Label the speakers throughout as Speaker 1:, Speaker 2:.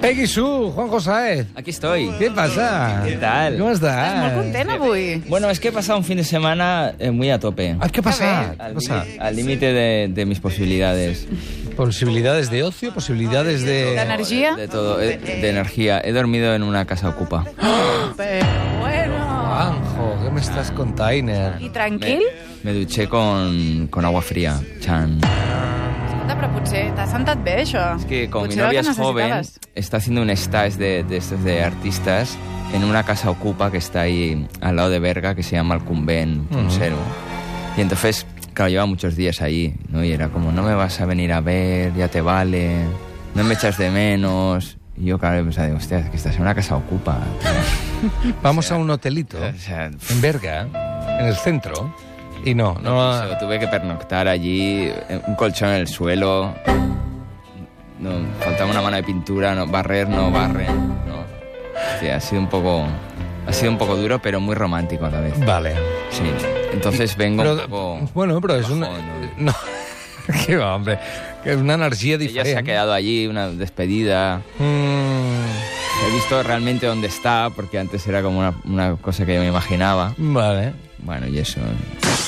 Speaker 1: Peggy Su, Juan José.
Speaker 2: Aquí estoy.
Speaker 1: ¿Qué pasa?
Speaker 2: ¿Qué tal?
Speaker 1: ¿Cómo estás?
Speaker 3: Estàs molt content avui.
Speaker 2: Bueno, es que he pasado un fin de semana eh, muy a tope.
Speaker 1: Ah, ¿Qué pasa? ¿Qué
Speaker 2: Al
Speaker 1: pasa?
Speaker 2: límite- Al límite de, de mis posibilidades.
Speaker 1: Posibilidades de ocio, posibilidades de...
Speaker 3: Ganar- ¿Energía?
Speaker 2: De todo, eh, de, energía. He dormido en una casa ocupa.
Speaker 3: Oh,
Speaker 2: Ah,
Speaker 3: Bueno.
Speaker 1: Anjo, ¿qué me estás container?
Speaker 3: I
Speaker 2: Me,
Speaker 3: tranquil?
Speaker 2: me duché con, con agua fría. Chan.
Speaker 3: Escolta, però potser t'ha sentat bé, això.
Speaker 2: Es que como mi
Speaker 3: Potser Pues era el
Speaker 2: novia es joven,
Speaker 3: necessitaves.
Speaker 2: está haciendo un stage de, de estos de artistas en una casa ocupa que está ahí al lado de Berga, que se llama El Convent, Conservo. Y entonces, claro, lleva muchos días ahí, ¿no? Y era como, no me vas a venir a ver, ya te vale, no me echas de menos. Y yo, claro, pensaba, digo, hostia, es que estás en una casa ocupa.
Speaker 1: Vamos a un hotelito
Speaker 2: tío". O sea, pff,
Speaker 1: en Berga, en el centro. Y no,
Speaker 2: no,
Speaker 1: no...
Speaker 2: sé, tuve que pernoctar allí, eh, un colchón en el suelo. No, faltaba una mano de pintura, no, barrer, no barren. No. Sí, ha sido un poco. Ha sido un poco duro, pero muy romántico a la vez.
Speaker 1: Vale.
Speaker 2: Sí. Entonces vengo un poco.
Speaker 1: bueno, pero es una...
Speaker 2: bajón,
Speaker 1: No, qué va, hombre. Que es una energía
Speaker 2: Ella se ha
Speaker 1: diferente.
Speaker 2: quedado allí, una despedida.
Speaker 1: Mm,
Speaker 2: He visto realmente dónde está, porque antes era como una, una cosa que yo me imaginaba.
Speaker 1: vale.
Speaker 2: Bueno, y eso.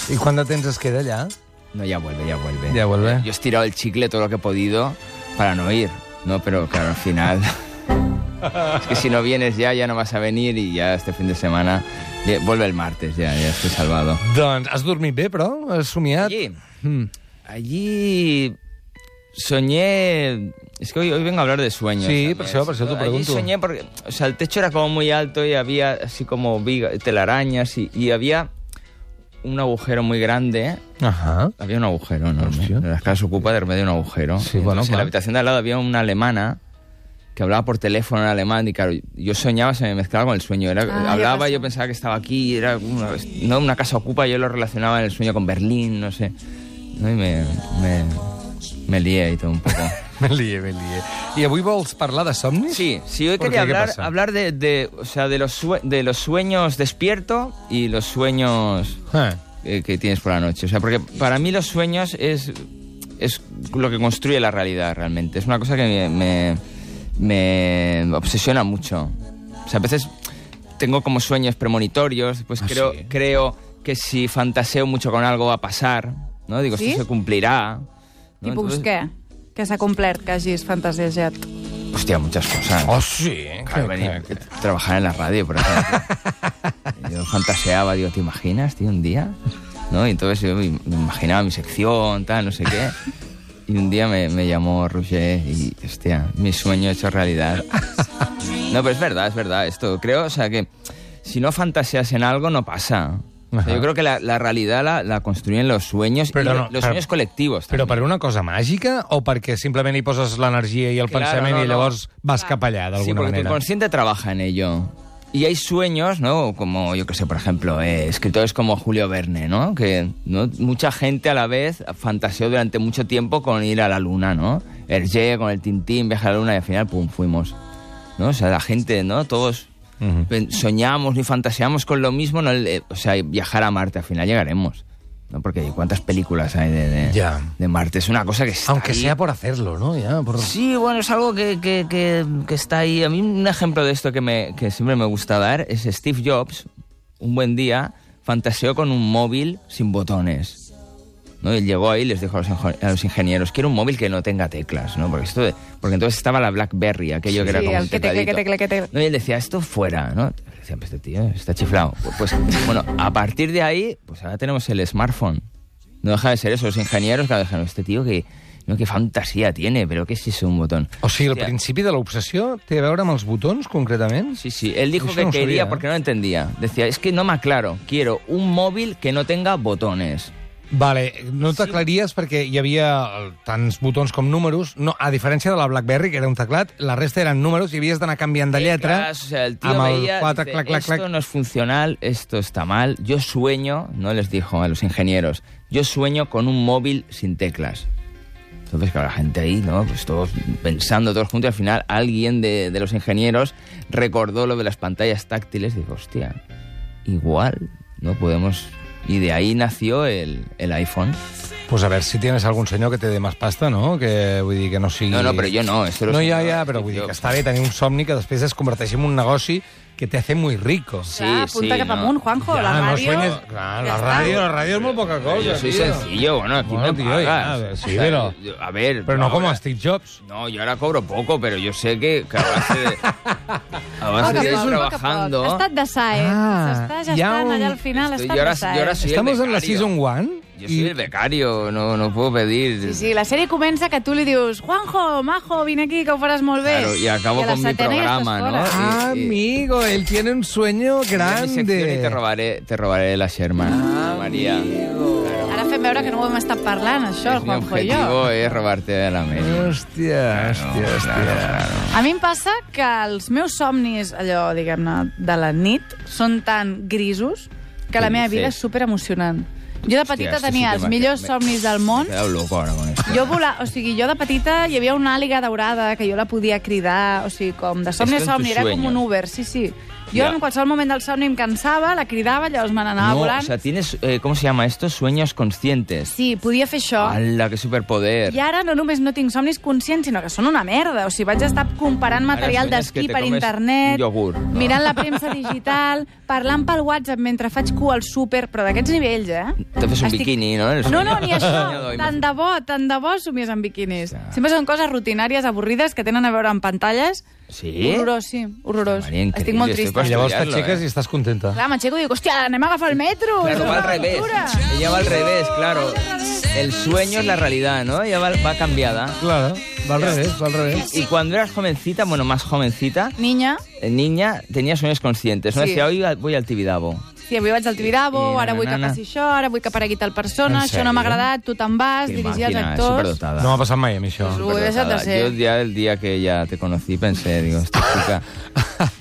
Speaker 1: ¿Y cuándo tens es queda allá?
Speaker 2: No, ya vuelve, ya vuelve.
Speaker 1: Ya vuelve.
Speaker 2: Yo he estirado el chicle todo lo que he podido para no ir, ¿no? Pero claro, al final... es que si no vienes ya, ya no vas a venir y ya este fin de semana... ya- vuelve el martes, ya, ya estoy salvado.
Speaker 1: Doncs has dormit bé, però? Has somiat?
Speaker 2: Allí,
Speaker 1: Mm.
Speaker 2: allí soñé... Es que hoy, hoy vengo a hablar de sueños.
Speaker 1: Sí,
Speaker 2: también.
Speaker 1: por eso- por eso te
Speaker 2: Allí
Speaker 1: pregunto.
Speaker 2: soñé porque, o sea, el techo era como muy alto y había así como viga- telarañas y, y había un agujero muy grande
Speaker 1: Ajá.
Speaker 2: Había un agujero enorme.
Speaker 1: Hostia.
Speaker 2: En las casas ocupa de repente un agujero.
Speaker 1: Sí,
Speaker 2: Y
Speaker 1: bueno,
Speaker 2: entonces En
Speaker 1: claro.
Speaker 2: la habitación de al lado había una alemana que hablaba por teléfono en alemán y claro, yo soñaba, se me mezclaba con el sueño. Era-
Speaker 3: Ah, ya
Speaker 2: hablaba,
Speaker 3: pasó.
Speaker 2: yo pensaba que estaba aquí, era una, no una casa ocupa, yo lo relacionaba en el sueño con Berlín, no sé. No, y me, me, me lié y todo un poco.
Speaker 1: Me lié, me lié. I avui vols parlar de somnis?
Speaker 2: Sí, sí, hoy
Speaker 1: ¿Por
Speaker 2: quería
Speaker 1: qué? ¿Qué
Speaker 2: hablar,
Speaker 1: pasa?
Speaker 2: hablar de, de, o sea, de, los sue- de los sueños despierto y los sueños
Speaker 1: Ah,
Speaker 2: eh, que tienes por la noche. O sea, porque para mí los sueños es, es lo que construye la realidad realmente. Es una cosa que me, me- me obsesiona mucho. O sea, a veces tengo como sueños premonitorios, después
Speaker 1: Ah,
Speaker 2: creo,
Speaker 1: sí.
Speaker 2: creo que si fantaseo mucho con algo va a pasar, ¿no? Digo,
Speaker 3: ¿Sí?
Speaker 2: esto se cumplirá. ¿no?
Speaker 3: Tipus
Speaker 2: Entonces-
Speaker 3: què? Que s'ha complert, que hagis fantasiejat.
Speaker 2: Hostia, muchas cosas.
Speaker 1: Oh, sí.
Speaker 2: Claro, venir- trabajar en la radio, por ejemplo. yo fantaseaba, digo, ¿te imaginas, tío, un día? ¿No? Y entonces yo me me imaginaba mi sección, tal, no sé qué. Y un día me, me llamó Roger y, hostia, mi sueño hecho realidad. No, pero es verdad, es verdad esto. Creo, o sea, que si no fantaseas en algo, no pasa. O sea,
Speaker 1: Ajá.
Speaker 2: yo creo que la, la realidad la, la construyen los sueños y
Speaker 1: Pero
Speaker 2: lo-
Speaker 1: no,
Speaker 2: los
Speaker 1: pero-
Speaker 2: sueños colectivos.
Speaker 1: Però
Speaker 2: también.
Speaker 1: per una cosa màgica o perquè simplement hi poses l'energia i el
Speaker 2: Claro,
Speaker 1: pensament
Speaker 2: no,
Speaker 1: i
Speaker 2: no. Ah.
Speaker 1: llavors vas cap allà,
Speaker 2: Sí,
Speaker 1: d'alguna
Speaker 2: porque tu
Speaker 1: manera?
Speaker 2: consciente trabaja en ello. Y hay sueños, ¿no? Como, yo que sé, por ejemplo, eh, escritores como Julio Verne, ¿no? Que ¿no? mucha gente a la vez fantaseó durante mucho tiempo con ir a la luna, ¿no? Hergé con el Tintín, viaje a la luna y al final, pum, fuimos. ¿No? O sea, la gente, ¿no? Todos
Speaker 1: Ujú.
Speaker 2: pen- soñamos y fantaseamos con lo mismo, ¿no? El, eh, o sea, viajar a Marte, al final llegaremos. ¿no? Porque cuántas películas hay de, de,
Speaker 1: Ya.
Speaker 2: de Marte. Es una cosa que está
Speaker 1: Aunque
Speaker 2: ahí.
Speaker 1: sea por hacerlo, ¿no? Ya, por...
Speaker 2: Sí, bueno, es algo que, que- que- que está ahí. A mí un ejemplo de esto que, me, que siempre me gusta dar es Steve Jobs, un buen día, fantaseó con un móvil sin botones. ¿no? Y llegó ahí y les dijo a los, injo- a los ingenieros, quiero un móvil que no tenga teclas, ¿no? Porque, esto de- porque entonces estaba la BlackBerry, aquello que era
Speaker 3: Sí,
Speaker 2: como
Speaker 3: el
Speaker 2: un
Speaker 3: que tecle,
Speaker 2: tecladito.
Speaker 3: que tecle, que tecle.
Speaker 2: No, y él decía, esto fuera, ¿no? Y Decían, pues este tío está chiflado. Pues, pues, bueno, a partir de ahí, pues ahora tenemos el smartphone. No deja de ser eso, los ingenieros, claro, dijeron, este tío que... No, qué fantasía tiene, pero ¿qué es eso un botón?
Speaker 1: O sigui, el
Speaker 2: Hòstia.
Speaker 1: principi de l'obsessió té a veure amb els botons, concretament?
Speaker 2: Sí, sí, él dijo
Speaker 1: Eso
Speaker 2: que
Speaker 1: no
Speaker 2: quería
Speaker 1: sabía, ¿eh?
Speaker 2: porque no entendía. Decía, es que no me aclaro, quiero un móvil que no tenga botones.
Speaker 1: Vale, no t'aclaries perquè hi havia eh, tants botons com números. No, a diferència de la BlackBerry, que era un teclat, la resta eren números i havies d'anar canviant de lletra
Speaker 2: Teclas, o sea, el tío
Speaker 1: amb el
Speaker 2: veía,
Speaker 1: quatre,
Speaker 2: dice,
Speaker 1: clac, clac,
Speaker 2: esto
Speaker 1: clac.
Speaker 2: no es funcional, esto está mal. Yo sueño, no les dijo a los ingenieros, yo sueño con un móvil sin teclas. Entonces, claro, la gente ahí, ¿no? Pues todos pensando, todos juntos, y al final alguien de, de los ingenieros recordó lo de las pantallas táctiles y dijo, hostia, igual, ¿no? Podemos... Y de ahí nació el, el iPhone.
Speaker 1: Pues a ver si tienes algún senyor que te dé més pasta, no? Que vull dir que no sigui...
Speaker 2: No, no, però jo no, esto lo
Speaker 1: No,
Speaker 2: sé
Speaker 1: ja,
Speaker 2: yo,
Speaker 1: ja, però vull dir
Speaker 2: jo-
Speaker 1: que està bé tenir un somni que després es converteixi en un negoci que te hace muy rico.
Speaker 2: Sí,
Speaker 3: Clar, apunta
Speaker 2: sí,
Speaker 3: cap
Speaker 2: no.
Speaker 3: amunt, Juanjo, la
Speaker 1: no
Speaker 3: ràdio...
Speaker 1: sueñes- Clar,
Speaker 3: ja
Speaker 1: la
Speaker 3: està.
Speaker 1: ràdio, la ràdio és molt poca cosa,
Speaker 2: Yo soy
Speaker 1: tio.
Speaker 2: sencillo, bueno, aquí
Speaker 1: Bueno,
Speaker 2: me
Speaker 1: tío,
Speaker 2: pagas.
Speaker 1: ya, a ver, sí,
Speaker 2: O sea,
Speaker 1: pero-
Speaker 2: yo- A ver...
Speaker 1: Però no com a
Speaker 2: ahora-
Speaker 1: Steve Jobs.
Speaker 2: No, yo ahora cobro poco, pero yo sé que, que a base de... A base
Speaker 3: Poc a
Speaker 2: de ir
Speaker 3: Oh, poc, poc a
Speaker 2: trabajando...
Speaker 3: poc. Ha estat de SAE.
Speaker 1: Ah,
Speaker 3: S'està
Speaker 1: hi ha
Speaker 3: gestant
Speaker 1: un-
Speaker 3: allà al final, ha
Speaker 2: Estoy-
Speaker 3: estat
Speaker 2: yo ahora-
Speaker 3: de eh? SAE.
Speaker 2: yo ahora soy el
Speaker 1: Estamos en la
Speaker 2: becario.
Speaker 1: Season 1
Speaker 2: Yo soy
Speaker 1: i
Speaker 2: el becario, no, no puedo pedir...
Speaker 3: Sí, sí, la sèrie comença que tu li dius Juanjo, Majo, vine aquí, que ho faràs molt bé.
Speaker 2: Claro, y acabo
Speaker 3: a la
Speaker 2: con mi
Speaker 3: setena ja estàs
Speaker 2: programa, no?
Speaker 3: fora.
Speaker 2: Ah, sí.
Speaker 1: Amigo, él tiene un sueño
Speaker 2: Mira mi sección y te
Speaker 1: grande.
Speaker 2: robaré, te robaré la
Speaker 3: Ah,
Speaker 2: Sherman, María.
Speaker 3: Ara fem veure que no ho hem estat parlant, això, el
Speaker 2: mi
Speaker 3: Juanjo i jo.
Speaker 2: objetivo es robarte de la media.
Speaker 1: Hòstia, hòstia, hòstia.
Speaker 3: A mi em passa que els meus somnis, allò, diguem-ne, de la nit, són tan grisos que la
Speaker 2: Què
Speaker 3: meva
Speaker 2: dices?
Speaker 3: vida és superemocionant. Jo de petita
Speaker 2: esto sí
Speaker 3: tenia
Speaker 2: que
Speaker 3: els
Speaker 2: me-
Speaker 3: millors
Speaker 2: me-
Speaker 3: somnis del món,
Speaker 2: Me he quedado loco ahora con esto.
Speaker 3: Jo vola, o sigui, jo de petita hi havia una àliga daurada que jo la podia cridar, o sigui, com de somni a
Speaker 2: Esto en
Speaker 3: somni,
Speaker 2: tus
Speaker 3: era com un
Speaker 2: sueños.
Speaker 3: Uber, sí, sí. Jo
Speaker 2: Ja.
Speaker 3: en qualsevol moment del somni em cansava, la cridava, llavors me n'anava
Speaker 2: no, o
Speaker 3: volant.
Speaker 2: sea, tienes, eh, ¿cómo se llama esto? Sueños conscientes.
Speaker 3: Sí, podia fer això.
Speaker 2: ¡Hala, qué superpoder!
Speaker 3: I ara no només no tinc somnis conscients, sinó que són una merda. O sigui, vaig estar comparant
Speaker 2: Ara
Speaker 3: material
Speaker 2: sueñas
Speaker 3: d'esquí
Speaker 2: que te
Speaker 3: per
Speaker 2: comes
Speaker 3: internet,
Speaker 2: un iogurt, no?
Speaker 3: mirant la premsa digital, parlant pel WhatsApp mentre faig cua al súper, però d'aquests nivells, eh?
Speaker 2: Te fes un
Speaker 3: Estic-
Speaker 2: biquini, ¿no? En el
Speaker 3: No,
Speaker 2: sueño.
Speaker 3: no, ni això.
Speaker 2: Soñador,
Speaker 3: Tant de bo, tant de bo somies amb biquinis.
Speaker 2: Hòstia.
Speaker 3: Sempre són coses rutinàries, avorrides, que tenen a veure amb pantalles.
Speaker 2: Sí?
Speaker 3: Horrorós, sí, horrorós.
Speaker 2: Maria, increïble,
Speaker 3: Estic molt
Speaker 2: estic
Speaker 3: trista.
Speaker 1: I llavors
Speaker 2: Estudiarlo,
Speaker 1: t'aixeques
Speaker 2: eh?
Speaker 1: i estàs contenta.
Speaker 3: Clar, m'aixeco i dic, hòstia, anem a agafar el metro. "Ah,
Speaker 2: Claro,
Speaker 3: és
Speaker 2: va
Speaker 3: una
Speaker 2: al revés.
Speaker 3: aventura".
Speaker 2: Ella va al revés, claro. El sueño es la realidad, ¿no? Ella va, va cambiada.
Speaker 1: Claro, va al revés, va al revés.
Speaker 2: Y cuando eras jovencita, bueno, más jovencita,
Speaker 3: Niña,
Speaker 2: eh, niña, tenías sueños conscientes. No
Speaker 3: Sí.
Speaker 2: decía, hoy voy al Tibidabo.
Speaker 3: sí, avui vaig al Tibidabo,
Speaker 2: I
Speaker 3: ara vull que
Speaker 2: nanana.
Speaker 3: passi això, ara vull que aparegui tal persona,
Speaker 1: En
Speaker 3: això no m'ha
Speaker 1: sèrio?
Speaker 3: agradat, tu te'n vas,
Speaker 2: Qué
Speaker 3: dirigir els
Speaker 2: máquina,
Speaker 3: actors...
Speaker 2: superdotada.
Speaker 1: No m'ha passat mai a mi, això.
Speaker 3: Jesús. Uy, esa
Speaker 2: Superdotada.
Speaker 3: tercera.
Speaker 2: Yo ya el día que ya te conocí pensé, digo, esta chica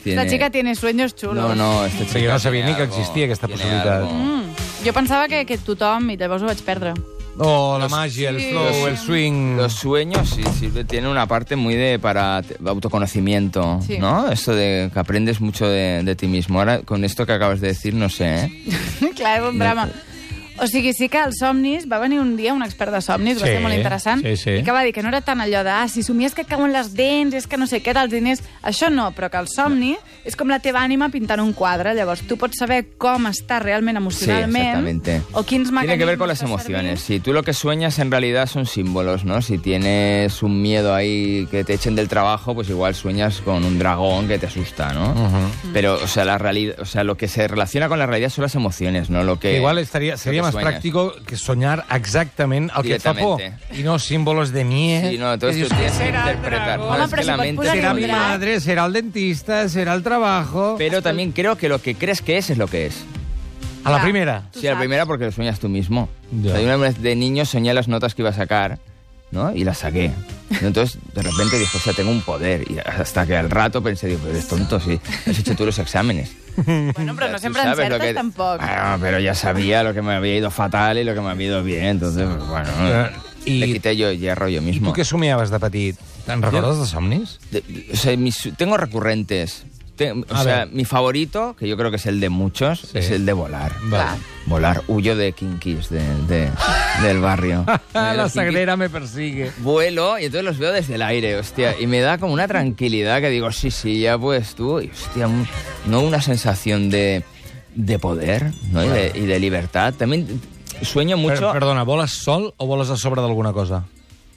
Speaker 2: tiene...
Speaker 3: Esta chica tiene sueños chulos.
Speaker 2: No, no, esta chica
Speaker 1: Sí, yo no sabía
Speaker 2: tiene
Speaker 1: ni que
Speaker 2: algo,
Speaker 1: existía aquesta
Speaker 2: tiene
Speaker 1: possibilitat.
Speaker 2: algo.
Speaker 3: Mm. Jo pensava que, que tothom, i llavors ho vaig perdre.
Speaker 1: Oh, la màgia, el flow, el swing...
Speaker 2: Los sueños sí, sirve, tiene una parte muy de para te- autoconocimiento,
Speaker 3: Sí.
Speaker 2: ¿no? Esto de que aprendes mucho de, de ti mismo. Ahora, con esto que acabas de decir, no sé, ¿eh?
Speaker 3: Clar, és un drama. O sigui, sí que els somnis... Va venir un dia un expert de somnis, va
Speaker 1: Sí,
Speaker 3: ser molt interessant,
Speaker 1: sí, sí.
Speaker 3: i que va dir que no era tant allò de ah, si somies que et cauen les dents, és que no sé què, dels diners... Això no, però que el somni és com la teva ànima pintant un quadre. Llavors, tu pots saber com està realment emocionalment
Speaker 2: exactamente.
Speaker 3: o quins mecanismes...
Speaker 2: Tiene que ver con las
Speaker 3: estàs
Speaker 2: emociones.
Speaker 3: servint.
Speaker 2: Si tú lo que sueñas en realidad son símbolos, ¿no? Si tienes un miedo ahí que te echen del trabajo, pues igual sueñas con un dragón que te asusta, ¿no? Pero, o sea, la realidad, o sea, lo que se relaciona con la realidad son las emociones, ¿no? Lo que
Speaker 1: Igual estaría,
Speaker 2: lo
Speaker 1: sería
Speaker 2: que
Speaker 1: más
Speaker 2: sueñas.
Speaker 1: práctico que soñar exactament el que et fa por.
Speaker 2: Directamente.
Speaker 1: I no símbolos de miedo.
Speaker 2: Sí, no, todo
Speaker 1: ¿eh?
Speaker 2: esto tienes que interpretar. ¿no?
Speaker 3: Home,
Speaker 2: Es
Speaker 3: però
Speaker 2: que
Speaker 3: si
Speaker 2: la
Speaker 3: pots
Speaker 2: mente
Speaker 3: posar
Speaker 1: Será
Speaker 2: es
Speaker 3: Será
Speaker 2: muy
Speaker 1: mi
Speaker 3: mi
Speaker 2: libre.
Speaker 1: madre, será el dentista, será el trabajo...
Speaker 2: Pero también creo que lo que crees que es es lo que es.
Speaker 1: A la primera.
Speaker 3: Tú
Speaker 2: Sí, la
Speaker 3: sabes.
Speaker 2: primera porque lo sueñas tú mismo.
Speaker 1: Ya.
Speaker 2: O sea, yo una vez de niño soñé las notas que iba a sacar, ¿no? Y las saqué. Entonces, de repente dije, o sea, tengo un poder. Y hasta que al rato pensé, digo, pero eres tonto, sí. Has hecho tú los exámenes.
Speaker 3: Bueno,
Speaker 2: O
Speaker 3: però
Speaker 2: sea,
Speaker 3: no
Speaker 2: tú
Speaker 3: sempre
Speaker 2: sabes lo
Speaker 3: encertes,
Speaker 2: que- Ah,
Speaker 3: tampoc.
Speaker 2: Bueno, pero ya sabía lo que me había ido fatal y lo que me había ido bien. Entonces, pues, bueno,
Speaker 1: Eh, y-
Speaker 2: le quité yo el hierro yo
Speaker 1: I
Speaker 2: mismo.
Speaker 1: tu què somiaves de petit? Te'n recordes dels somnis?
Speaker 2: De- de- o sea, mis- tengo recurrentes. Te- o
Speaker 1: A
Speaker 2: sea,
Speaker 1: ver.
Speaker 2: mi favorito, que yo creo que es el de muchos, es el de volar. Ah,
Speaker 1: Vale.
Speaker 2: Volar. Huyo de kinkis de, de- del barrio. De los Kinkies.
Speaker 1: me persigue.
Speaker 2: Vuelo y entonces los veo desde el aire, hostia. Y me da como una tranquilidad que digo, sí, sí, ya pues tú. Y, hostia, un- no una sensación de, de poder ¿no? y, de, y de libertad. También sueño mucho.
Speaker 1: Per, perdona, voles sol o voles a sobre d'alguna cosa?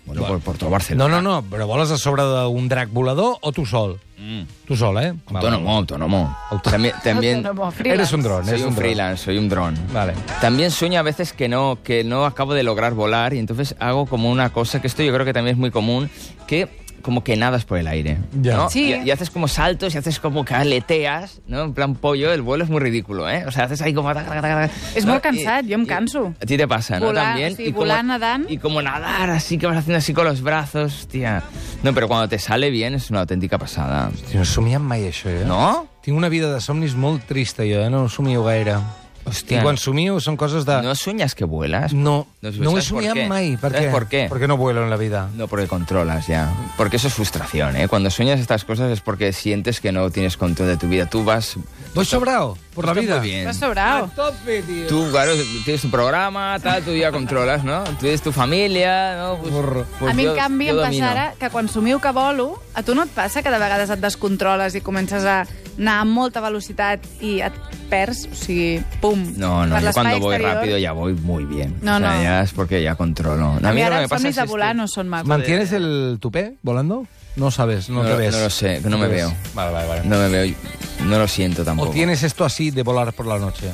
Speaker 2: Bueno, por, por todo Barcelona.
Speaker 1: No, no, no, però voles a sobre d'un drac volador o tu sol?
Speaker 2: Mm.
Speaker 1: Tu sol, eh?
Speaker 2: Autónomo, autónomo. También, también
Speaker 3: Autónomo, freelance.
Speaker 1: Eres un dron,
Speaker 2: soy
Speaker 1: eres
Speaker 2: un
Speaker 1: un dron.
Speaker 2: freelance, soy un dron.
Speaker 1: Vale.
Speaker 2: También sueño a veces que no, que no acabo de lograr volar y entonces hago como una cosa, que esto yo creo que también es muy común, que como que nadas por el aire.
Speaker 1: Ya.
Speaker 2: ¿no?
Speaker 3: Sí.
Speaker 2: Y, y haces como saltos y haces como que aleteas, ¿no? En plan pollo, el vuelo es muy ridículo, ¿eh? O sea, haces ahí como... tac, tac, tac, tac,
Speaker 3: És
Speaker 2: ¿no?
Speaker 3: molt
Speaker 2: Y-
Speaker 3: cansat, jo em
Speaker 2: y-
Speaker 3: canso.
Speaker 2: A ti te pasa, ¿no?
Speaker 3: Volar,
Speaker 2: también.
Speaker 3: o sigui, volar, nadant.
Speaker 2: Y como nadar, así que vas haciendo así con los brazos, hostia. No, pero cuando te sale bien es una auténtica pasada.
Speaker 1: Tio, no somiam mai això, eh?
Speaker 2: ¿No?
Speaker 1: Tinc una vida de somnis molt trista, jo, eh? no ho somio gaire. Hòstia, I quan somio són coses de...
Speaker 2: ¿No sueñas que vuelas?
Speaker 1: No, no,
Speaker 2: ¿sabes
Speaker 1: no ho he
Speaker 2: por
Speaker 1: somiat
Speaker 2: qué?
Speaker 1: mai. Per
Speaker 2: ¿Sabes
Speaker 1: què?
Speaker 2: por qué?
Speaker 1: Perquè no vuelo en la vida.
Speaker 2: No, porque controlas ya. Porque eso es frustración, ¿eh? Cuando sueñas estas cosas es porque sientes que no tienes control de tu vida. Tú vas...
Speaker 1: Voy sobrado por la
Speaker 2: Está
Speaker 1: vida.
Speaker 2: Muy bien.
Speaker 3: Vas sobrao.
Speaker 1: Tope, tío.
Speaker 2: Tú, claro, tienes tu programa, tal, tú ya controlas, ¿no? Tú tienes tu familia, ¿no? Pues-
Speaker 1: Burro.
Speaker 2: pues
Speaker 3: a mi, en
Speaker 2: yo-
Speaker 3: canvi,
Speaker 2: yo
Speaker 3: em
Speaker 2: Doncs domino.
Speaker 3: passa ara que quan somiu que volo, a tu no et passa que de vegades et descontroles i comences a anar a molta velocitat i et perds? O sigui, pum,
Speaker 2: No, no,
Speaker 3: per
Speaker 2: yo
Speaker 3: l'espai
Speaker 2: cuando voy
Speaker 3: exterior.
Speaker 2: rápido ya voy muy bien. o
Speaker 3: No,
Speaker 2: sea,
Speaker 3: no.
Speaker 2: ya es porque ya controlo.
Speaker 3: A mi
Speaker 2: lo que
Speaker 3: ara
Speaker 2: me
Speaker 3: els
Speaker 2: pasa
Speaker 3: somnis
Speaker 2: es
Speaker 3: de
Speaker 2: este-
Speaker 3: volar no són macos.
Speaker 1: ¿Mantienes el tupé volando? No sabes, no,
Speaker 2: No,
Speaker 1: te ves.
Speaker 2: no lo sé, no me
Speaker 1: te ves.
Speaker 2: veo.
Speaker 1: Vale, vale, vale.
Speaker 2: No me veo, no lo siento
Speaker 1: O
Speaker 2: tampoco.
Speaker 1: tienes esto así de volar por la noche.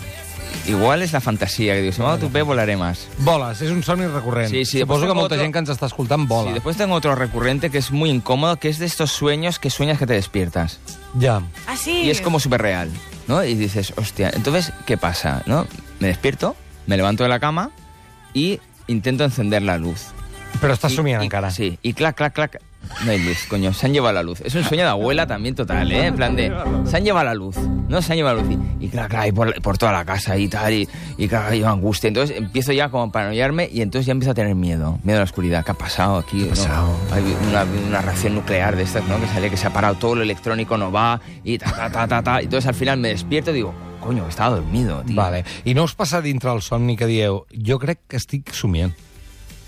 Speaker 2: Igual es la fantasía que digo, si me hago tu pe, volaré más.
Speaker 1: Voles, és un somni recurrent.
Speaker 2: Sí, sí,
Speaker 1: Suposo
Speaker 2: després
Speaker 1: que
Speaker 2: tengo
Speaker 1: molta
Speaker 2: otro-
Speaker 1: gent que ens està escoltant vola.
Speaker 2: Sí, después tengo otro recurrente que es muy incómodo, que es de estos sueños que sueñas que te despiertas.
Speaker 1: Ja.
Speaker 3: Ah, sí?
Speaker 2: Y es como súper real, ¿no? Y dices, hostia, entonces, ¿qué pasa? ¿No? Me despierto, me levanto de la cama y intento encender la luz.
Speaker 1: Però estàs
Speaker 2: Y-
Speaker 1: somiant
Speaker 2: y-
Speaker 1: encara.
Speaker 2: Sí, y clac, clac, clac. No hay luz, coño, se han llevado la luz. Es un sueño de abuela también total, ¿eh? En plan de, se han llevado la luz, ¿no? Se han llevado la luz. Y, y clac, clac, y por, por toda la casa y tal, y, y clac, y angustia. Entonces empiezo ya como a paranoiarme y entonces ya empiezo a tener miedo. Miedo a la oscuridad. ¿Qué ha pasado aquí? ¿No?
Speaker 1: pasado?
Speaker 2: Hay una, una reacción nuclear de estas, ¿no? Que sale, que se ha parado todo, lo electrónico no va, y ta, ta, ta, ta, ta. Entonces al final me despierto y digo, coño, estaba dormido, tío.
Speaker 1: Vale. I no us passa dintre el somni que dieu jo crec que estic somiant.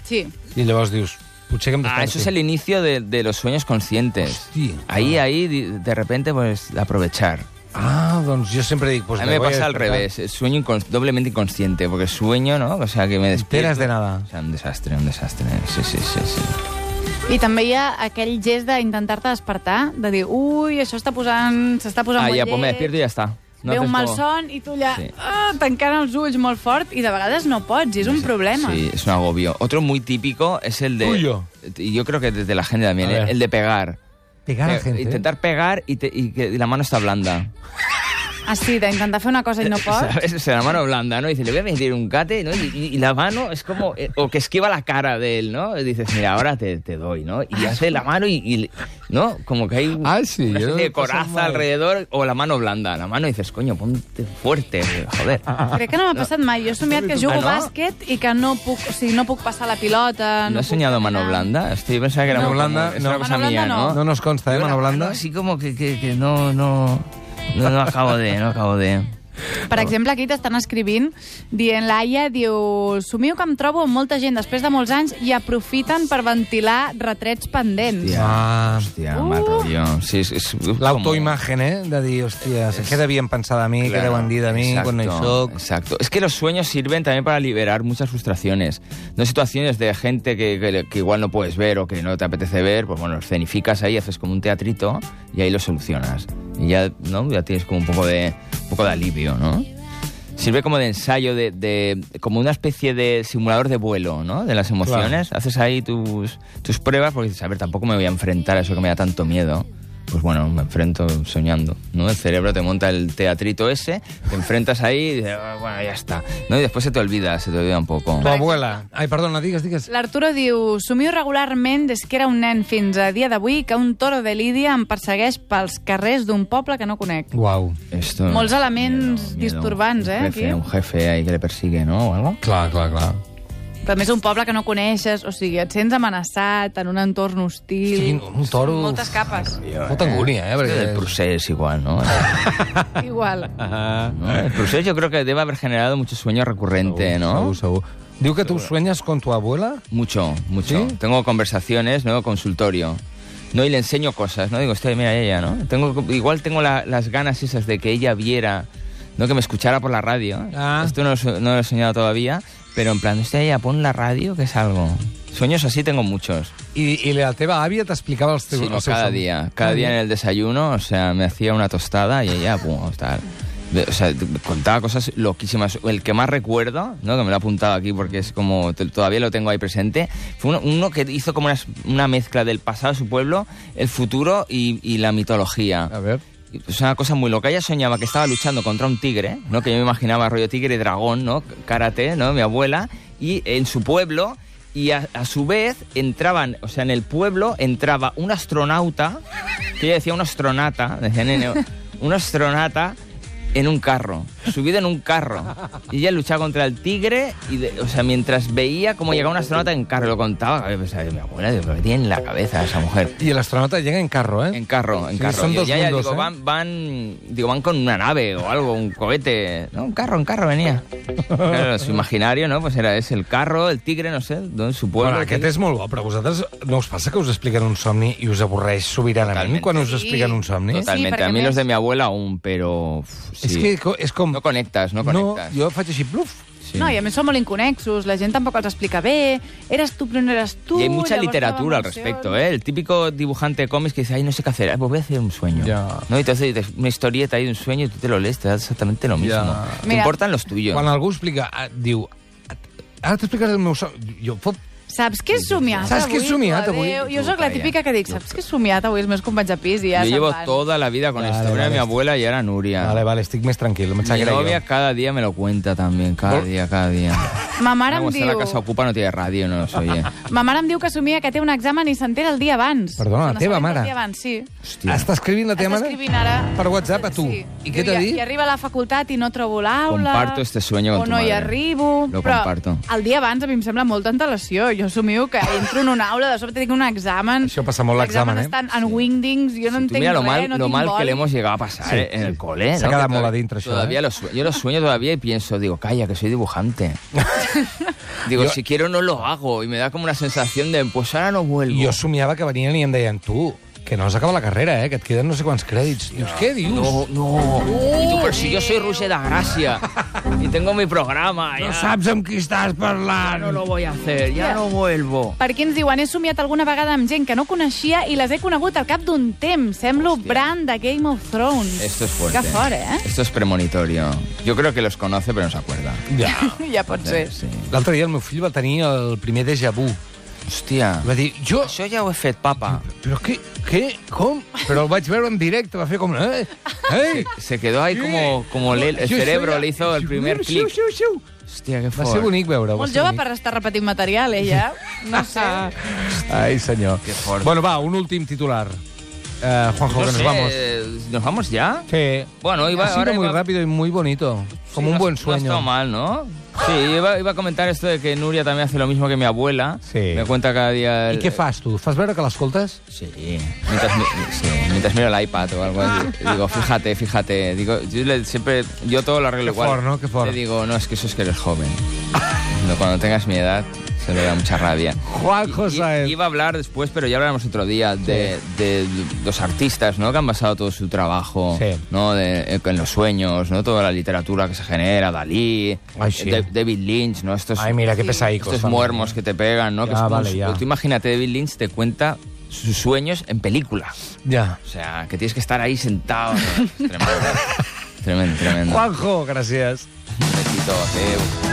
Speaker 3: Sí.
Speaker 1: I llavors dius, potser que em
Speaker 2: Ah,
Speaker 1: desperti.
Speaker 2: eso es el inicio de, de los sueños conscientes.
Speaker 1: Hostia.
Speaker 2: Ahí, ahí, di- de repente, pues, aprovechar.
Speaker 1: Ah, doncs jo sempre dic... Pues
Speaker 2: a mí me
Speaker 1: voy
Speaker 2: pasa al
Speaker 1: despertar.
Speaker 2: revés, el sueño incon- doblemente inconsciente, porque sueño, ¿no? O sea, que me
Speaker 1: enteras
Speaker 2: despiertas
Speaker 1: de nada.
Speaker 2: O sea, un desastre, un desastre. Sí, sí, sí, sí.
Speaker 3: I també hi ha aquell gest d'intentar-te despertar, de dir, ui, això està posant... s'està posant
Speaker 2: Ah,
Speaker 3: molt
Speaker 2: ya, pues me
Speaker 3: lleig,
Speaker 2: despierto y ya está.
Speaker 3: ve
Speaker 2: haces
Speaker 3: un mal
Speaker 2: como-
Speaker 3: son i tu allà
Speaker 2: Sí.
Speaker 3: ah, tancant els ulls molt fort i de vegades no pots, i és un problema.
Speaker 2: Sí, es un agobio. Otro muy típico es el de...
Speaker 1: Tuyo.
Speaker 2: Y yo creo que desde la gente también, ¿eh?
Speaker 1: A ver.
Speaker 2: el de pegar.
Speaker 1: Pegar a
Speaker 2: Pe-
Speaker 1: gente.
Speaker 2: Eh,
Speaker 1: ¿eh?
Speaker 2: Intentar pegar y, te- y que la mano está blanda.
Speaker 3: Ah, sí, d'intentar fer una cosa i no pots.
Speaker 2: ¿Sabes? O sea, la mano blanda, ¿no? Y dice, le voy a meter un cate, ¿no? Y, y- y la mano es como... eh, O que esquiva la cara de él, ¿no? Y dices, mira, ahora te, te doy, ¿no? Y hace la mano y... y- ¿No? Como que hay un-
Speaker 1: Ah, sí,
Speaker 2: una
Speaker 1: yo
Speaker 2: especie
Speaker 1: lo he
Speaker 2: de
Speaker 1: pasado
Speaker 2: coraza
Speaker 1: mal.
Speaker 2: alrededor o la mano blanda. La mano dices, coño, ponte fuerte, joder.
Speaker 1: Ah,
Speaker 3: Crec que no m'ha passat mai. Jo he somiat que jugo
Speaker 2: Ah,
Speaker 3: a
Speaker 2: no?
Speaker 3: bàsquet i que no puc, o sigui, no puc passar la pilota.
Speaker 2: ¿No has
Speaker 3: puc
Speaker 2: soñado mano
Speaker 3: caminar.
Speaker 2: blanda? Estoy pensando que era
Speaker 1: ah. Mano
Speaker 2: muy
Speaker 1: blanda,
Speaker 2: común. Es
Speaker 1: no.
Speaker 2: una cosa
Speaker 3: Mano blanda,
Speaker 2: mía, ¿no?
Speaker 1: No nos consta, eh,
Speaker 2: Yo la
Speaker 1: mano blanda.
Speaker 2: Así como que, que, que no, no, no, no acabo de, no acabo de...
Speaker 3: Per exemple, aquí t'estan escrivint dient l'Aia, diu... Somio que em trobo amb molta gent després de molts anys i aprofiten per ventilar retrets pendents.
Speaker 2: Hòstia.
Speaker 1: Ah,
Speaker 2: Hostia,
Speaker 3: Uh.
Speaker 2: mal rollo. Sí, es, es como-
Speaker 1: L'autoimagen, eh? De dir, hòstia, què devien pensar de mi, què
Speaker 2: Claro,
Speaker 1: deuen dir de mi
Speaker 2: exacto,
Speaker 1: quan no hi soc...
Speaker 2: Exacto. Es que los sueños sirven también para liberar muchas frustraciones. No situaciones de gente que, que- que igual no puedes ver o que no te apetece ver, pues bueno, escenificas ahí, haces como un teatrito y ahí lo solucionas. Y ya, ¿no? ya tienes como un poco de, un poco de alivio, ¿no? Sirve como de ensayo, de, de- como una especie de simulador de vuelo, ¿no? De las emociones. Haces ahí tus, tus pruebas porque dices, a ver, tampoco me voy a enfrentar a eso que me da tanto miedo. Pues bueno, me enfrento soñando, ¿no? El cerebro te monta el teatrito ese, te enfrentas ahí y dices, "Ah, bueno, ya está. ¿No? Y después se te olvida, se te olvida un poco.
Speaker 1: Tu abuela... Ai, perdona, digues, digues.
Speaker 3: L'Arturo diu, somio regularment des que era un nen fins a dia d'avui que un toro de Lídia em persegueix pels carrers d'un poble que no conec.
Speaker 1: Uau.
Speaker 2: Esto,
Speaker 3: Molts elements disturbants,
Speaker 2: un
Speaker 3: eh,
Speaker 2: jefe,
Speaker 3: aquí.
Speaker 2: Un jefe ahí que le persigue, ¿no? O algo.
Speaker 1: Clar, clar, clar.
Speaker 3: També és un poble que no coneixes, o sigui, et sents amenaçat en un entorn hostil.
Speaker 1: Sí, un toro-
Speaker 3: Moltes capes,
Speaker 1: Molta angúnia, eh?
Speaker 2: Esto
Speaker 1: Perquè...
Speaker 2: del procés igual, ¿no?
Speaker 3: igual.
Speaker 2: ¿no? El proceso yo creo que debe haber generado mucho sueño recurrente, ¿no?
Speaker 1: Segur, segur. Diu que tu sueñas con tu abuela?
Speaker 2: Mucho, mucho.
Speaker 1: ¿Sí?
Speaker 2: Tengo conversaciones, ¿no? Consultorio. No, y le enseño cosas, ¿no? Digo, estoy, mira, ella, ¿no? Tengo, igual tengo la- las ganas esas de que ella viera, ¿no? Que me escuchara por la radio.
Speaker 1: Ah.
Speaker 2: Esto no lo, so- no lo he soñado todavía, pero en plan, hostia, ella, pon la radio, que es algo. Sueños así tengo muchos.
Speaker 1: I, i la teva àvia t'explicava els teus...
Speaker 2: Sí, no,
Speaker 1: els seus
Speaker 2: cada
Speaker 1: somnis.
Speaker 2: día. Cada día en el desayuno, o sea, me hacía una tostada y ella, pum, tal. De- O sea, te- contaba cosas loquísimas. El que más recuerdo, ¿no? que me lo he apuntado aquí porque es como, te- todavía lo tengo ahí presente, fue uno, uno que hizo como una, s- una mezcla del pasado de su pueblo, el futuro y, y la mitología.
Speaker 1: A veure...
Speaker 2: Es pues, una cosa muy loca. Ella soñaba que estaba luchando contra un tigre, ¿no? Que yo me imaginaba rollo tigre, dragón, ¿no? Karate, ¿no? Mi abuela. Y en su pueblo. Y a, a su vez entraban, o sea, en el pueblo entraba un astronauta, que ella decía un astronauta, decían en- un astronauta en un carro. subida en un carro. Y ella luchaba contra el tigre, y de- o sea, mientras veía cómo llegaba un astronauta en carro, lo contaba. Yo pensaba, mi abuela, digo, ¿pero ¿qué tiene en la cabeza esa mujer?
Speaker 1: Y el astronauta llega en carro, ¿eh?
Speaker 2: En carro, en
Speaker 1: Sí,
Speaker 2: carro.
Speaker 1: son
Speaker 2: Y
Speaker 1: dos
Speaker 2: ella,
Speaker 1: mundos,
Speaker 2: digo,
Speaker 1: ¿eh?
Speaker 2: van, van, digo, van con una nave o algo, un cohete. No, un carro, un carro venía. Claro, su imaginario, ¿no? Pues era ese, el carro, el tigre, no sé, don- su pueblo.
Speaker 1: Bueno, aquest és molt bo, però vosaltres no us passa que us expliquen un somni i us avorreix sobiranament
Speaker 2: Totalmente.
Speaker 1: quan us
Speaker 3: Sí.
Speaker 1: expliquen un somni?
Speaker 3: Total. Sí,
Speaker 2: Totalmente.
Speaker 3: perquè
Speaker 2: a mí
Speaker 3: més-
Speaker 2: los de mi abuela aún, pero... uf, sí.
Speaker 1: És que co- és com...
Speaker 2: No conectas, no conectas.
Speaker 1: jo faig així, pluf.
Speaker 2: Sí.
Speaker 3: Sí. No, i a més són molt inconexos, la gent tampoc els explica bé, eres tu, però no eres tu...
Speaker 2: Y hay mucha
Speaker 3: llavors
Speaker 2: literatura al
Speaker 3: la emoció-
Speaker 2: respecto, ¿eh? El típico dibujante de cómics que dice, ay, no sé qué hacer, Ay, pues voy a hacer un sueño.
Speaker 1: Ya.
Speaker 2: ¿No? Y te hace una historieta ahí de un sueño y tú te lo lees, te da exactamente lo mismo.
Speaker 1: Ya.
Speaker 2: Te
Speaker 3: Mira.
Speaker 2: importan los tuyos.
Speaker 1: Quan algú explica, ah, diu... Ara t'explicaré el meu somni. Jo, fot,
Speaker 3: Saps què he somiat
Speaker 1: Saps què he
Speaker 3: avui?
Speaker 1: somiat
Speaker 3: Tu,
Speaker 1: avui?
Speaker 3: adéu. Jo sóc la
Speaker 2: Calla.
Speaker 3: típica que dic, saps què he somiat avui? Els meus companys de pis i ja
Speaker 2: Yo
Speaker 3: se'n
Speaker 2: llevo
Speaker 3: van.
Speaker 2: toda la vida con
Speaker 1: Vale,
Speaker 2: esto. Una de
Speaker 1: vale.
Speaker 2: mi abuela y era Nuria.
Speaker 1: Vale, vale, estic més tranquil. Em
Speaker 2: Mi
Speaker 1: sap greu.
Speaker 2: novia cada día me lo cuenta también, cada
Speaker 1: Vol-
Speaker 2: día, cada día.
Speaker 3: Ma mare em
Speaker 2: Como está la
Speaker 3: diu...
Speaker 2: casa ocupa no tiene radio, no los oye.
Speaker 3: Ma mare em diu que somia que té un examen i s'entera el dia abans.
Speaker 1: Perdona,
Speaker 3: Se
Speaker 1: la teva
Speaker 3: n'assabenta
Speaker 1: mare?
Speaker 3: El dia abans, sí.
Speaker 2: Hostia.
Speaker 1: Està escrivint la teva
Speaker 3: Està
Speaker 1: mare?
Speaker 3: escrivint ara...
Speaker 1: Per WhatsApp a tu.
Speaker 3: Sí.
Speaker 1: I què
Speaker 3: Diu,
Speaker 1: t'ha dit?
Speaker 3: I arriba a la facultat i no trobo l'aula...
Speaker 2: Comparto este sueño con
Speaker 3: o
Speaker 2: tu
Speaker 3: no hi
Speaker 2: madre.
Speaker 3: arribo...
Speaker 2: Lo
Speaker 3: però
Speaker 2: comparto.
Speaker 3: el dia abans a mi em sembla molta antelació. Jo somio que entro en una aula, de sobte tinc un examen...
Speaker 1: Això pasa molt, l'examen, eh?
Speaker 3: Estan en wingdings, jo no
Speaker 2: Tú
Speaker 3: entenc
Speaker 2: mira lo
Speaker 3: res,
Speaker 2: mal,
Speaker 3: no
Speaker 2: lo
Speaker 3: tinc
Speaker 2: mal que
Speaker 3: boli.
Speaker 2: le hemos llegado a pasar
Speaker 1: Sí,
Speaker 2: eh, en
Speaker 1: sí.
Speaker 2: el cole.
Speaker 1: Se ha
Speaker 2: ¿no?
Speaker 1: quedado
Speaker 2: Que
Speaker 1: mola
Speaker 2: todavía-
Speaker 1: dentro eso,
Speaker 2: todavía
Speaker 1: ¿eh?
Speaker 2: lo sue- Yo lo sueño todavía y pienso, digo, calla, que soy dibujante. digo, si quiero no lo hago. Y me da como una sensación de, pues ahora no vuelvo.
Speaker 1: Jo somiava que venien i em deien, tu, que no has acabat la carrera, eh? Que et queden no sé quants crèdits. Dius, què dius?
Speaker 2: No, no. Y tú, pero si yo soy Rusia de Gracia y tengo mi programa. ya.
Speaker 1: no saps amb qui estàs
Speaker 2: Ya
Speaker 1: parlant.
Speaker 2: no lo voy a hacer, ya
Speaker 3: Ya.
Speaker 2: no vuelvo.
Speaker 3: Per aquí ens diuen, he somiat alguna vegada amb gent que no coneixia i les he conegut al cap d'un temps. Semblo
Speaker 2: Hòstia.
Speaker 3: Bran de Game of Thrones.
Speaker 2: Esto es fuerte.
Speaker 3: Que fort, eh?
Speaker 2: Esto es premonitorio. Yo creo que los conoce, pero no se acuerda. Eh,
Speaker 1: Ja.
Speaker 3: Ja pot ser.
Speaker 2: Sí.
Speaker 1: L'altre dia el meu fill va tenir el primer déjà vu.
Speaker 2: Hostia.
Speaker 1: Va dir, jo...
Speaker 2: Això ja ho he fet, papa.
Speaker 1: Però què? Què? Com? Però el vaig veure en directe, va fer com... Eh? Ei!
Speaker 2: Se quedó ahí como, como le- el
Speaker 1: Jo
Speaker 2: cerebro
Speaker 1: soy-
Speaker 2: le hizo el primer
Speaker 1: Xiu,
Speaker 2: clic.
Speaker 1: xiu, xiu.
Speaker 2: Hostia, qué
Speaker 1: Va ser
Speaker 2: fort.
Speaker 1: bonic veure-ho. va
Speaker 3: Molt
Speaker 1: ser
Speaker 3: jove
Speaker 1: bonic.
Speaker 3: per estar repetint material, ella. No sé.
Speaker 1: Ai, senyor.
Speaker 2: Que fort.
Speaker 1: Bueno, va, un últim titular. Eh, Juanjo,
Speaker 2: No
Speaker 1: que nos
Speaker 2: sé,
Speaker 1: vamos.
Speaker 2: eh, ¿Nos vamos ya?
Speaker 1: Sí.
Speaker 2: Bueno, iba,
Speaker 1: ha sido
Speaker 2: ahora
Speaker 1: muy
Speaker 2: iba-
Speaker 1: rápido y muy bonito. Como un
Speaker 2: no-
Speaker 1: buen
Speaker 2: No ha
Speaker 1: sueño.
Speaker 2: estado mal, ¿no? Sí, iba, iba a comentar esto de que Nuria también hace lo mismo que mi abuela.
Speaker 1: Sí.
Speaker 2: Me cuenta cada día...
Speaker 1: I
Speaker 2: El,
Speaker 1: què fas, tu? Fas veure que l'escoltes?
Speaker 2: Sí. Mientras, mi- sí, mientras miro el iPad o algo así. Digo, fíjate, fíjate. Digo, yo le- siempre, yo todo lo arreglo
Speaker 1: Qué
Speaker 2: igual.
Speaker 1: for, ¿no? Qué for.
Speaker 2: Le digo, no, es que eso es que eres joven. No, cuando tengas mi edad, se le da mucha rabia.
Speaker 1: Juanjo
Speaker 2: I-
Speaker 1: Saez.
Speaker 2: Iba a hablar después, pero ya hablaremos otro día de, de los artistas, ¿no? Que han basado todo su trabajo,
Speaker 1: Sí.
Speaker 2: ¿no? De- en los sueños, ¿no? Toda la literatura que se genera, Dalí,
Speaker 1: Ay, sí.
Speaker 2: Da- David Lynch, ¿no? Estos,
Speaker 1: Ai, mira, que pesaicos.
Speaker 2: estos
Speaker 1: també.
Speaker 2: muermos que te pegan, ¿no? que
Speaker 1: Ya,
Speaker 2: es como
Speaker 1: vale,
Speaker 2: su-
Speaker 1: ya.
Speaker 2: Tú imagínate, David Lynch te cuenta sus sueños en película.
Speaker 1: Ja.
Speaker 2: O sea, que tienes que estar ahí sentado. ¿no? Es tremendo. tremendo, tremendo.
Speaker 1: Juanjo, gràcies.
Speaker 2: Un besito, adeu.